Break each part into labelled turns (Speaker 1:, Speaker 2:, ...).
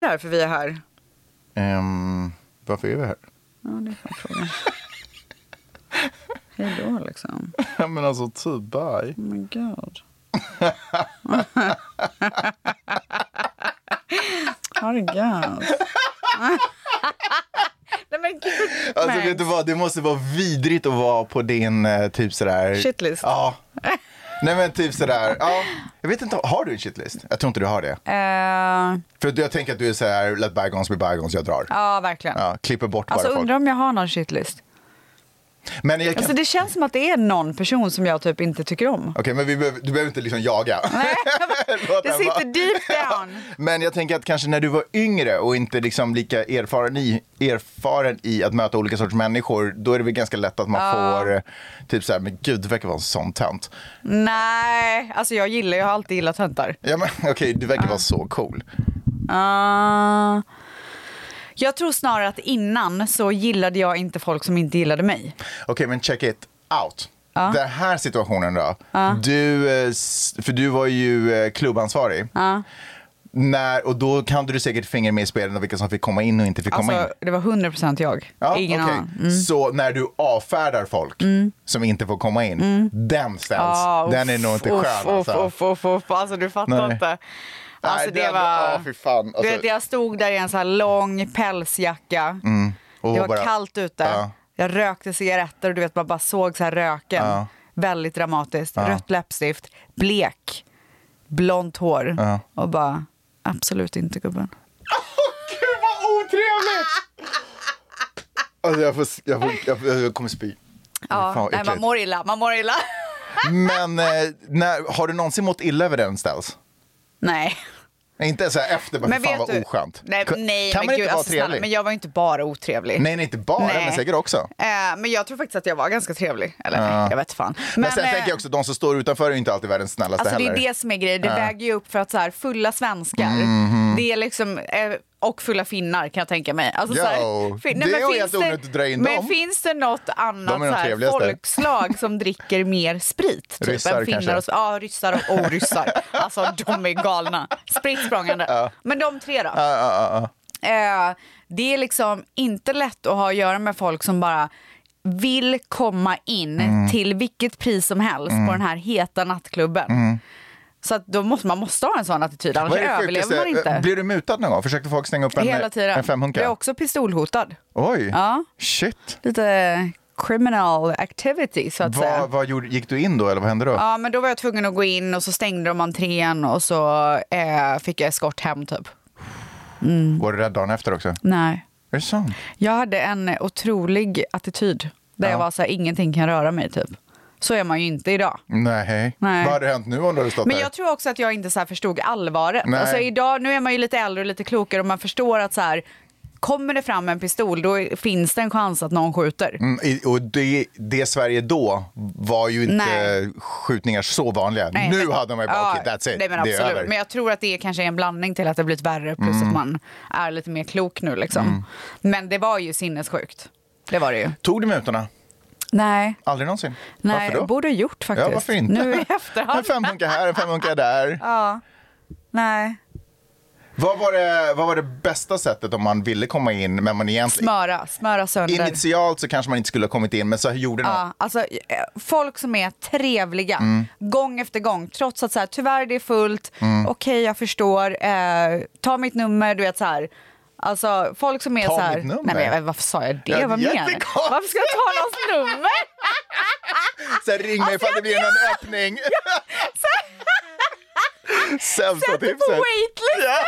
Speaker 1: därför vi är här.
Speaker 2: Ehm, varför är vi här?
Speaker 1: Ja, det är fan frågan. Hej då, liksom.
Speaker 2: Ja, men alltså, typ
Speaker 1: Oh
Speaker 2: bye.
Speaker 1: my god. Herregud. Nej, men gud.
Speaker 2: Alltså,
Speaker 1: Nej.
Speaker 2: vet du vad? Det måste vara vidrigt att vara på din eh, typ sådär...
Speaker 1: Shitlist.
Speaker 2: Ja. Nej, men typ sådär. Ja. Jag vet inte, har du en shitlist? Jag tror inte du har det.
Speaker 1: Eh,
Speaker 2: För jag tänker att du är såhär, let bygons be bygons, jag drar.
Speaker 1: ja, verkligen.
Speaker 2: Ja, klipper bort
Speaker 1: Alltså,
Speaker 2: bara folk.
Speaker 1: undrar om jag har någon shitlist.
Speaker 2: Men jag kan...
Speaker 1: Alltså, det känns som att det är någon person som jag typ inte tycker om.
Speaker 2: Okej, men vi behöver, du behöver inte liksom jaga. Låt
Speaker 1: Det
Speaker 2: den vara.
Speaker 1: sitter deep down.
Speaker 2: Men jag tänker att kanske när du var yngre och inte liksom lika erfaren i, erfaren i att möta olika sorters människor, då är det väl ganska lätt att man får eh, typ så här, men gud, du verkar vara en sån tönt.
Speaker 1: Nej, alltså jag gillar, jag har alltid gillat höntar.
Speaker 2: Ja, men okej, du verkar vara så cool.
Speaker 1: Ah. jag tror snarare att innan så gillade jag inte folk som inte gillade mig.
Speaker 2: Okej, men check it out. Den här situationen då. Du, eh, s- för du var ju eh, klubbansvarig. När, och då kan du säkert finger med i spelen av vilka som fick komma in och inte fick komma in.
Speaker 1: Alltså, det var 100% jag.
Speaker 2: Ja,
Speaker 1: Ingen
Speaker 2: okej.
Speaker 1: annan. Mm.
Speaker 2: Så när du avfärdar folk som inte får komma in, den ställs.
Speaker 1: Mm. Ah, uff,
Speaker 2: den är nog inte
Speaker 1: uff,
Speaker 2: skön.
Speaker 1: Uff,
Speaker 2: alltså.
Speaker 1: uff, uff, uff. alltså du fattar
Speaker 2: Nej.
Speaker 1: inte. Alltså
Speaker 2: Nej,
Speaker 1: det
Speaker 2: den-
Speaker 1: var...
Speaker 2: ah, fy fan. Alltså-
Speaker 1: du vet, jag stod där i en så här lång pälsjacka.
Speaker 2: Mm. Och
Speaker 1: det var
Speaker 2: bara-
Speaker 1: kallt ute.
Speaker 2: Ja.
Speaker 1: Jag rökte cigaretter och du vet, man bara såg så här röken.
Speaker 2: Ja.
Speaker 1: Väldigt dramatiskt. Rött läppstift, blek, blont hår
Speaker 2: Ja.
Speaker 1: och bara absolut inte gubben.
Speaker 2: Gud vad otrevligt! Alltså jag, får, jag, får, jag, får, jag kommer spy.
Speaker 1: Ja,
Speaker 2: Fan, vad
Speaker 1: nej, man
Speaker 2: äckligt.
Speaker 1: mår illa, man mår illa.
Speaker 2: Men eh, när, har du någonsin mått illa över den ställs?
Speaker 1: nej.
Speaker 2: Inte så här efter, men,
Speaker 1: Men
Speaker 2: fan
Speaker 1: vet
Speaker 2: vad
Speaker 1: du,
Speaker 2: oskönt.
Speaker 1: Nej,
Speaker 2: Kan-
Speaker 1: nej
Speaker 2: kan
Speaker 1: men
Speaker 2: man
Speaker 1: gud,
Speaker 2: inte vara
Speaker 1: alltså,
Speaker 2: trevlig?
Speaker 1: Snälla, men jag var ju inte bara otrevlig.
Speaker 2: Nej, nej, inte bara,
Speaker 1: Nej.
Speaker 2: men säkert också.
Speaker 1: Eh, men jag tror faktiskt att jag var ganska trevlig. Eller nej, jag vet fan.
Speaker 2: Men, sen
Speaker 1: eh,
Speaker 2: tänker jag också, de som står utanför är ju inte alltid världens snällaste
Speaker 1: Alltså det
Speaker 2: heller.
Speaker 1: är det som är grejen, det väger ju upp för att så här, fulla svenskar,
Speaker 2: Mhm.
Speaker 1: det är liksom, eh, och fulla finnar kan jag tänka mig. Alltså,
Speaker 2: Jo,
Speaker 1: så här,
Speaker 2: det är ju helt onödigt att dra in
Speaker 1: Men
Speaker 2: dem.
Speaker 1: finns det något annat
Speaker 2: De är de
Speaker 1: så här,
Speaker 2: trevligaste.
Speaker 1: folkslag som dricker mer sprit? Typ,
Speaker 2: Ryssar
Speaker 1: än
Speaker 2: kanske.
Speaker 1: finnar och, ja, ryssar och oryssar. alltså de är galna. Spritt språngande. Men de tre då?
Speaker 2: Ja, ja, ja, ja.
Speaker 1: Eh, det är liksom inte lätt att ha att göra med folk som bara vill komma in
Speaker 2: Mm.
Speaker 1: till vilket pris som helst på den här heta nattklubben. Så att då måste, man måste ha en sån attityd, annars
Speaker 2: Mm. Vad är det
Speaker 1: överlever man
Speaker 2: sjukaste?
Speaker 1: inte.
Speaker 2: Blir du mutad någon gång? Försökte folk stänga upp en,
Speaker 1: Hela tiden.
Speaker 2: en femhunka?
Speaker 1: Blev också pistolhotad.
Speaker 2: Oj,
Speaker 1: Ja.
Speaker 2: shit.
Speaker 1: Lite criminal activity så att säga.
Speaker 2: Vad, vad gjorde, gick du in då eller vad hände då?
Speaker 1: Ja, men då var jag tvungen att gå in och så stängde de entrén och så eh, fick jag eskort hem typ. Mm.
Speaker 2: Var du rädd dagen efter också? Är
Speaker 1: Nej.
Speaker 2: det sant?
Speaker 1: Jag hade en otrolig attityd där jag var så här, ingenting kan röra mig typ. Så är man ju inte idag.
Speaker 2: Nej.
Speaker 1: Nej.
Speaker 2: Vad hade hänt nu om du hade stått
Speaker 1: Men
Speaker 2: där?
Speaker 1: jag tror också att jag inte så här förstod allvaret.
Speaker 2: Nej.
Speaker 1: Alltså idag, nu är man ju lite äldre och lite klokare och man förstår att så här, kommer det fram en pistol då finns det en chans att någon skjuter.
Speaker 2: Mm, i- och det, det Sverige då var ju inte
Speaker 1: Nej.
Speaker 2: skjutningar så vanliga.
Speaker 1: Nej,
Speaker 2: nu
Speaker 1: men-
Speaker 2: hade man ju bara, okej, that's it,
Speaker 1: Nej, men
Speaker 2: det
Speaker 1: absolut.
Speaker 2: är över. Mm.
Speaker 1: Men jag tror att det kanske är en blandning till att det har blivit värre plus att man är lite mer klok nu liksom. Men det var ju sinnessjukt. Det var det ju.
Speaker 2: Tog du mutorna?
Speaker 1: Nej,
Speaker 2: Aldrig någonsin?
Speaker 1: nej
Speaker 2: varför då?
Speaker 1: borde ha gjort faktiskt.
Speaker 2: Ja, varför inte?
Speaker 1: Nu i efterhand.
Speaker 2: En femhunka här, en femhunka där.
Speaker 1: Ja. Nej.
Speaker 2: Vad, var det, vad var det bästa sättet om man ville komma in, men man egentligen...
Speaker 1: Smöra, smöra sönder.
Speaker 2: Initialt så kanske man inte skulle ha kommit in, men så gjorde någon.
Speaker 1: Ja, alltså, eh, folk som är trevliga
Speaker 2: Mm.
Speaker 1: gång efter gång trots att så här, tyvärr det är fullt, okej jag förstår, eh, ta mitt nummer, du vet så här. Alltså folk som är
Speaker 2: Ta
Speaker 1: så här,
Speaker 2: mitt nummer?
Speaker 1: nej men jag- varför sa jag det?
Speaker 2: Ja, det är
Speaker 1: Vad menar du?
Speaker 2: jättekonstigt.
Speaker 1: Varför ska jag ta någons nummer?
Speaker 2: Sen ring
Speaker 1: Alltså,
Speaker 2: mig ifall det blir någon öppning. Sämsta
Speaker 1: Sätt dig på
Speaker 2: tipset.
Speaker 1: waitlist!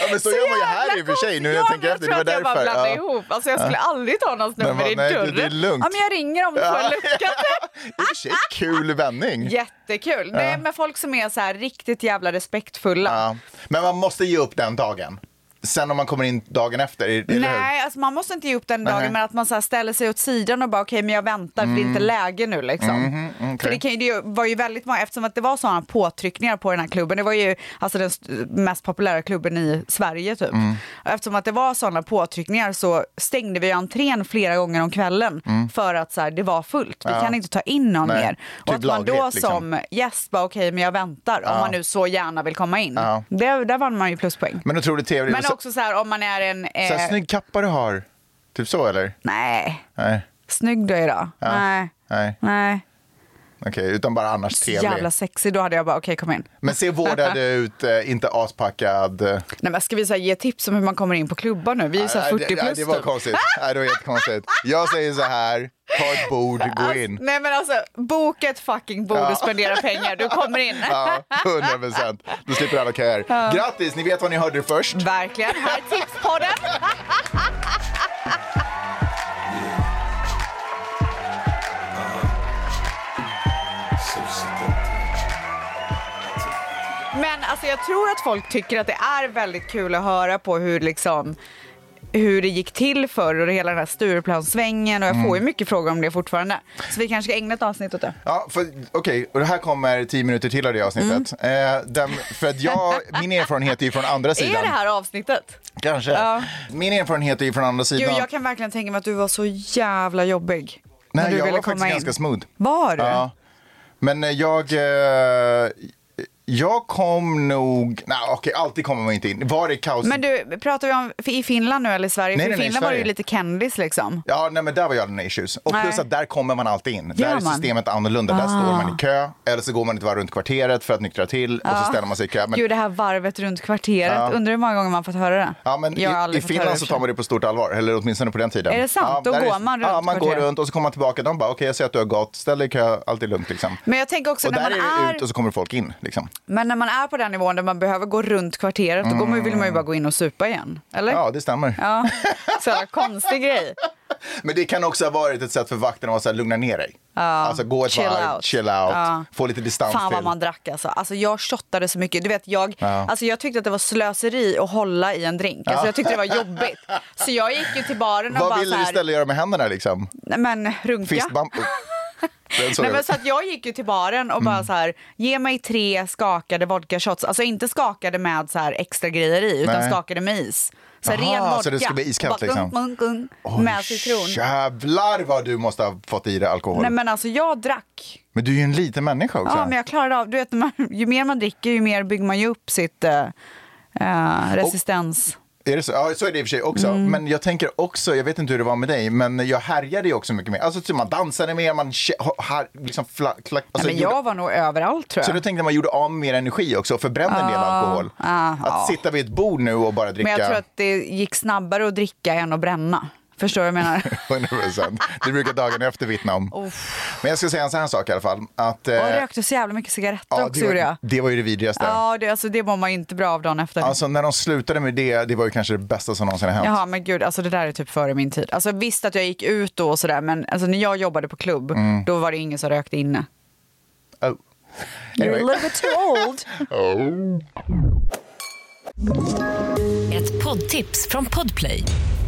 Speaker 2: Ja, men så, gör man ju här i och för sig nu när jag tänker efter. Det var
Speaker 1: Jag bara
Speaker 2: därför.
Speaker 1: blandade
Speaker 2: Ja.
Speaker 1: ihop. Alltså jag skulle aldrig ta någons
Speaker 2: Men
Speaker 1: nummer
Speaker 2: vad-
Speaker 1: i
Speaker 2: nej, det-
Speaker 1: dörren.
Speaker 2: det är lugnt.
Speaker 1: Ja men jag ringer om du får en lucka.
Speaker 2: I och för sig kul vändning.
Speaker 1: Jättekul. Nej men folk som är så här riktigt jävla respektfulla.
Speaker 2: Ja. Men man måste ge upp den dagen. Sen om man kommer in dagen efter, är- eller hur?
Speaker 1: Nej, alltså man måste inte ge upp den dagen,
Speaker 2: Nej. Mm.
Speaker 1: men att man så här ställer sig åt sidan och bara okej, men jag väntar för det är inte läge nu liksom.
Speaker 2: Mhm, okej.
Speaker 1: För det, kan ju, det var ju väldigt många, eftersom att det var sådana påtryckningar på den här klubben, det var ju alltså den st- mest populära klubben i Sverige typ.
Speaker 2: Mm.
Speaker 1: Och Eftersom att det var sådana påtryckningar så stängde vi entrén flera gånger om kvällen för att så här, det var fullt, vi
Speaker 2: Mm. Ja.
Speaker 1: kan inte ta in någon
Speaker 2: Nej.
Speaker 1: mer. Och
Speaker 2: Typ
Speaker 1: att man då
Speaker 2: lagligt, liksom.
Speaker 1: som gäst bara okej, men jag väntar, om man nu så gärna vill komma in.
Speaker 2: Ja.
Speaker 1: Det, där vann man ju pluspoäng.
Speaker 2: Men otroligt trevligt.
Speaker 1: Men
Speaker 2: Så-
Speaker 1: också så här om man är en...
Speaker 2: Så här,
Speaker 1: eh,
Speaker 2: snygg kappa du har. Typ så eller?
Speaker 1: Nej.
Speaker 2: Nej.
Speaker 1: Snygg du är idag.
Speaker 2: Ja.
Speaker 1: Nej.
Speaker 2: Nej.
Speaker 1: Nej.
Speaker 2: Okej, utan bara annars
Speaker 1: Så
Speaker 2: trevlig.
Speaker 1: jävla sexig. Då hade jag bara, okej kom in.
Speaker 2: Men se vårdad ut, eh, inte aspackad. eh.
Speaker 1: Nej, men ska vi så här, ge tips om hur man kommer in på klubbar nu? Vi är ju så här
Speaker 2: Nej,
Speaker 1: 40
Speaker 2: det, nej,
Speaker 1: plus
Speaker 2: det var
Speaker 1: typ.
Speaker 2: konstigt. Nej, det var jättekonstigt. Jag säger så här, ta ett bord, gå
Speaker 1: Alltså,
Speaker 2: in.
Speaker 1: nej men alltså, boka ett fucking bord och spendera pengar. Du kommer in.
Speaker 2: Ja, 100 procent. Då slipper alla köer. Grattis, ni vet vad ni hörde först.
Speaker 1: Verkligen. Här är tipspodden. Men alltså, jag tror att folk tycker att det är väldigt kul att höra på hur liksom hur det gick till förr och hela den här Stureplanssvängen och jag
Speaker 2: Mm.
Speaker 1: får ju mycket frågor om det fortfarande. Så vi kanske ska ägna ett avsnitt åt det.
Speaker 2: Ja, för, okej, och det här kommer 10 minuter till av det avsnittet. Eh, den, för att jag, min erfarenhet är ju från
Speaker 1: Mm.
Speaker 2: andra
Speaker 1: Är
Speaker 2: sidan.
Speaker 1: det här avsnittet?
Speaker 2: Kanske.
Speaker 1: Ja.
Speaker 2: Min erfarenhet är ju från andra
Speaker 1: Gud,
Speaker 2: sidan.
Speaker 1: jag kan verkligen tänka mig att du var så jävla jobbig. när
Speaker 2: Nej,
Speaker 1: du
Speaker 2: jag
Speaker 1: ville
Speaker 2: var faktiskt
Speaker 1: komma in.
Speaker 2: ganska smooth.
Speaker 1: Var du?
Speaker 2: Ja. Men eh, jag... Eh, jag kom nog... Nej, okej, alltid kommer man inte in. Var det kaos?
Speaker 1: Men du, pratar vi om i Finland nu eller i Sverige?
Speaker 2: Nej,
Speaker 1: För
Speaker 2: nej,
Speaker 1: i
Speaker 2: nej,
Speaker 1: Finland var det ju
Speaker 2: Sverige.
Speaker 1: lite kändis liksom.
Speaker 2: Ja, nej, men där var jag den issues. Och plus
Speaker 1: Nej.
Speaker 2: att där kommer man alltid in.
Speaker 1: Gör
Speaker 2: Där är
Speaker 1: man? Ah.
Speaker 2: systemet annorlunda. Där står man i kö, eller så går man ett varv runt kvarteret för att nyktra till och så ställer man sig i kö. Men,
Speaker 1: Gud, det här varvet runt kvarteret. Undrar hur många gånger man fått höra det?
Speaker 2: ja, men
Speaker 1: Jag har
Speaker 2: i,
Speaker 1: aldrig
Speaker 2: I
Speaker 1: fått höra
Speaker 2: Finland så
Speaker 1: det.
Speaker 2: tar man det på stort allvar, eller åtminstone på den tiden.
Speaker 1: Är det sant?
Speaker 2: Ja,
Speaker 1: Då
Speaker 2: där är-
Speaker 1: går man runt
Speaker 2: Ja, man går
Speaker 1: kvarteret.
Speaker 2: runt och så kommer man tillbaka. De bara, okej, jag ser att du har gått, ställ dig i kö, allt är lugnt liksom.
Speaker 1: Men jag tänker också
Speaker 2: och
Speaker 1: när
Speaker 2: där
Speaker 1: man är,
Speaker 2: är det ut och så kommer folk in. Liksom.
Speaker 1: men när man är på den nivån där man behöver gå runt kvarteret, då går man, vill man ju bara gå in och supa igen. Eller?
Speaker 2: Mm. Ja, det stämmer.
Speaker 1: Ja. Så jävla konstig grej.
Speaker 2: Men det kan också ha varit ett sätt för vakterna att så här, lugna ner dig. Alltså gå ett
Speaker 1: Chill
Speaker 2: varv,
Speaker 1: out.
Speaker 2: chill out,
Speaker 1: Ja.
Speaker 2: få lite distans
Speaker 1: Fan vad
Speaker 2: till.
Speaker 1: man drack alltså. alltså jag shottade så mycket. Du vet, jag, alltså, jag tyckte att det var slöseri att hålla i en drink. Alltså, jag tyckte det var jobbigt. Så jag gick ju till baren och
Speaker 2: Vad
Speaker 1: bara
Speaker 2: vill
Speaker 1: så
Speaker 2: du
Speaker 1: här,
Speaker 2: istället göra med händerna liksom?
Speaker 1: Nej, men runka.
Speaker 2: Fistbump? Den såg
Speaker 1: Nej,
Speaker 2: jag.
Speaker 1: men så att jag gick ju till baren och bara
Speaker 2: Mm.
Speaker 1: så här, ge mig tre skakade vodka shots. Alltså inte skakade med så här extra grejer i, utan
Speaker 2: Nej.
Speaker 1: skakade med is. Så här,
Speaker 2: Aha,
Speaker 1: ren vodka.
Speaker 2: så det ska bli iskallt,
Speaker 1: Bara
Speaker 2: liksom.
Speaker 1: gung, gung, gung,
Speaker 2: Oj,
Speaker 1: med citron.
Speaker 2: Jävlar vad du måste ha fått i dig alkohol.
Speaker 1: Nej
Speaker 2: men...
Speaker 1: men alltså jag drack.
Speaker 2: du är ju en liten människa också.
Speaker 1: Ja men jag klarade av, du vet när man, ju mer man dricker ju mer bygger man ju upp sitt eh, eh, resistens.
Speaker 2: Är det så? Ja, så är det i och för sig också.
Speaker 1: Mm.
Speaker 2: Men jag tänker också, jag vet inte hur det var med dig, men jag härjade ju också mycket mer. Alltså typ man dansade mer, man kä- ha- har, liksom fla- klack, alltså,
Speaker 1: Nej, men
Speaker 2: gjorde-
Speaker 1: jag var nog överallt tror
Speaker 2: Så
Speaker 1: jag.
Speaker 2: då tänkte jag man gjorde av med mer energi också och förbrände en del alkohol.
Speaker 1: ah,
Speaker 2: att
Speaker 1: ah.
Speaker 2: sitta vid ett bord nu och bara dricka.
Speaker 1: Men jag tror att det gick snabbare att dricka än att bränna. Förstår du vad jag menar?
Speaker 2: 100%. Det brukar dagen efter vittna om. Men jag ska säga en sån här sak i alla fall. Att, eh,
Speaker 1: Och jag rökte så jävla mycket cigaretter
Speaker 2: ja,
Speaker 1: också
Speaker 2: det,
Speaker 1: gjorde jag.
Speaker 2: var, det var ju det vidrigaste.
Speaker 1: Ja, det, alltså, det mår man ju inte bra av dagen efter.
Speaker 2: Alltså när de slutade med det, det var ju kanske det bästa som någonsin har hänt.
Speaker 1: Jaha, men gud, alltså det där är typ före min tid. Alltså visst att jag gick ut då och sådär, men alltså, när jag jobbade på klubb,
Speaker 2: Mm.
Speaker 1: då var det ingen som rökte inne.
Speaker 2: Oh.
Speaker 1: You're a
Speaker 2: Anyway.
Speaker 1: little bit too old.
Speaker 2: Oh.
Speaker 3: Ett poddtips från Podplay.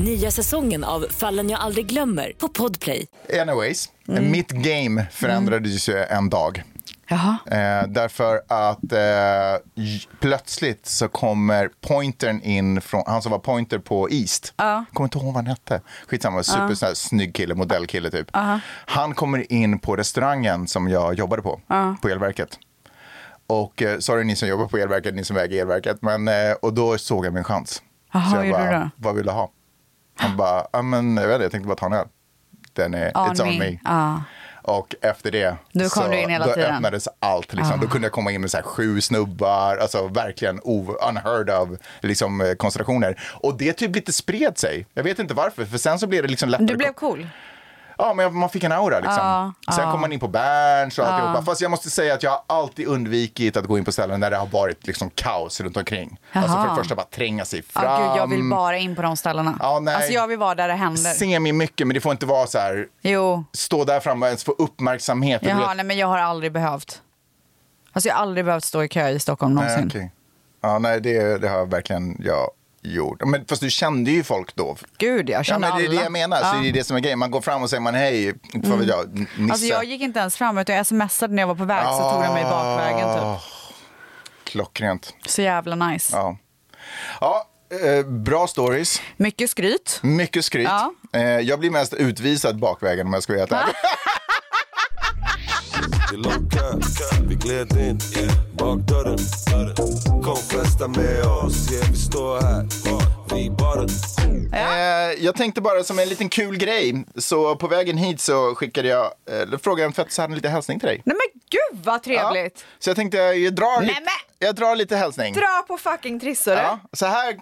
Speaker 3: Nya säsongen av Fallen jag aldrig glömmer på Podplay.
Speaker 2: Anyways,
Speaker 1: Mm.
Speaker 2: mitt game förändrades ju en dag.
Speaker 1: Jaha.
Speaker 2: Eh, därför att eh, j- plötsligt så kommer pointern in från, han som var pointer på East. Kommer inte ihåg vad han hette. Skitsamma, super sån här, snygg kille, modellkille typ. Han kommer in på restaurangen som jag jobbade på, på elverket. Och eh, sorry ni som jobbar på elverket, ni som äger elverket. Men, eh, och då såg jag min chans.
Speaker 1: Jaha,
Speaker 2: så jag
Speaker 1: gjorde
Speaker 2: bara,
Speaker 1: du det?
Speaker 2: vad vill du ha? Han bara, ja men jag vet inte, jag tänkte bara ta en öl. Den är,
Speaker 1: On
Speaker 2: it's
Speaker 1: me.
Speaker 2: on me.
Speaker 1: Ja.
Speaker 2: Och efter det
Speaker 1: Då kom
Speaker 2: så
Speaker 1: du in hela
Speaker 2: då
Speaker 1: tiden.
Speaker 2: öppnades allt. Liksom. Då kunde jag komma in med så här sju snubbar, alltså verkligen o- unheard of liksom, eh, konstellationer. Och det typ lite spred sig. Jag vet inte varför, för sen så blev det liksom lättare.
Speaker 1: Du blev cool.
Speaker 2: Ja, men man fick en aura liksom.
Speaker 1: Ja,
Speaker 2: Sen
Speaker 1: ja.
Speaker 2: kom man in på Berns och alltihopa. Fast jag måste säga att jag har alltid undvikit att gå in på ställen där det har varit liksom kaos runt omkring. Alltså för det
Speaker 1: Jaha.
Speaker 2: första bara tränga sig
Speaker 1: Ja,
Speaker 2: fram.
Speaker 1: gud, jag vill bara in på de ställena.
Speaker 2: Ja, nej.
Speaker 1: Alltså jag vill vara där det händer.
Speaker 2: Semi mycket, men det får inte vara så här,
Speaker 1: Jo,
Speaker 2: stå där framme och ens få uppmärksamhet. och du
Speaker 1: Jaha,
Speaker 2: vet-
Speaker 1: nej men jag har aldrig behövt. Alltså jag har aldrig behövt stå i kö i Stockholm någonsin.
Speaker 2: Nej, okej. Ja, nej, det, det har jag verkligen jag gjort. Men, fast du kände ju folk då.
Speaker 1: Gud, jag
Speaker 2: Ja,
Speaker 1: känner
Speaker 2: men det är det
Speaker 1: alla.
Speaker 2: jag menar, så det är det som är grejen. Man går fram och säger man hej, inte vad vet jag, n- Nisse. Ah.
Speaker 1: Alltså jag gick inte ens fram utan jag smsade när jag var på väg så tog de mig bakvägen typ.
Speaker 2: Klockrent.
Speaker 1: Så jävla nice.
Speaker 2: Ja. ja eh, bra stories,
Speaker 1: Mycket skryt.
Speaker 2: mycket skryt.
Speaker 1: Ja.
Speaker 2: Eh, jag blir mest utvisad bakvägen om jag ska vara helt ärlig.
Speaker 4: Det är lockat, vi gled in bakdörren Kom festa med oss, ja vi står här Vi bara
Speaker 2: Eh, jag tänkte bara som en liten kul grej, så på vägen hit så skickade jag, eh, eller frågade en fettis hade en liten hälsning till dig.
Speaker 1: Nej men gud vad
Speaker 2: Ja.
Speaker 1: trevligt.
Speaker 2: Så jag tänkte jag drar,
Speaker 1: Nej,
Speaker 2: lite,
Speaker 1: men-
Speaker 2: jag drar lite hälsning.
Speaker 1: Dra på fucking trissor.
Speaker 2: Ja, så här,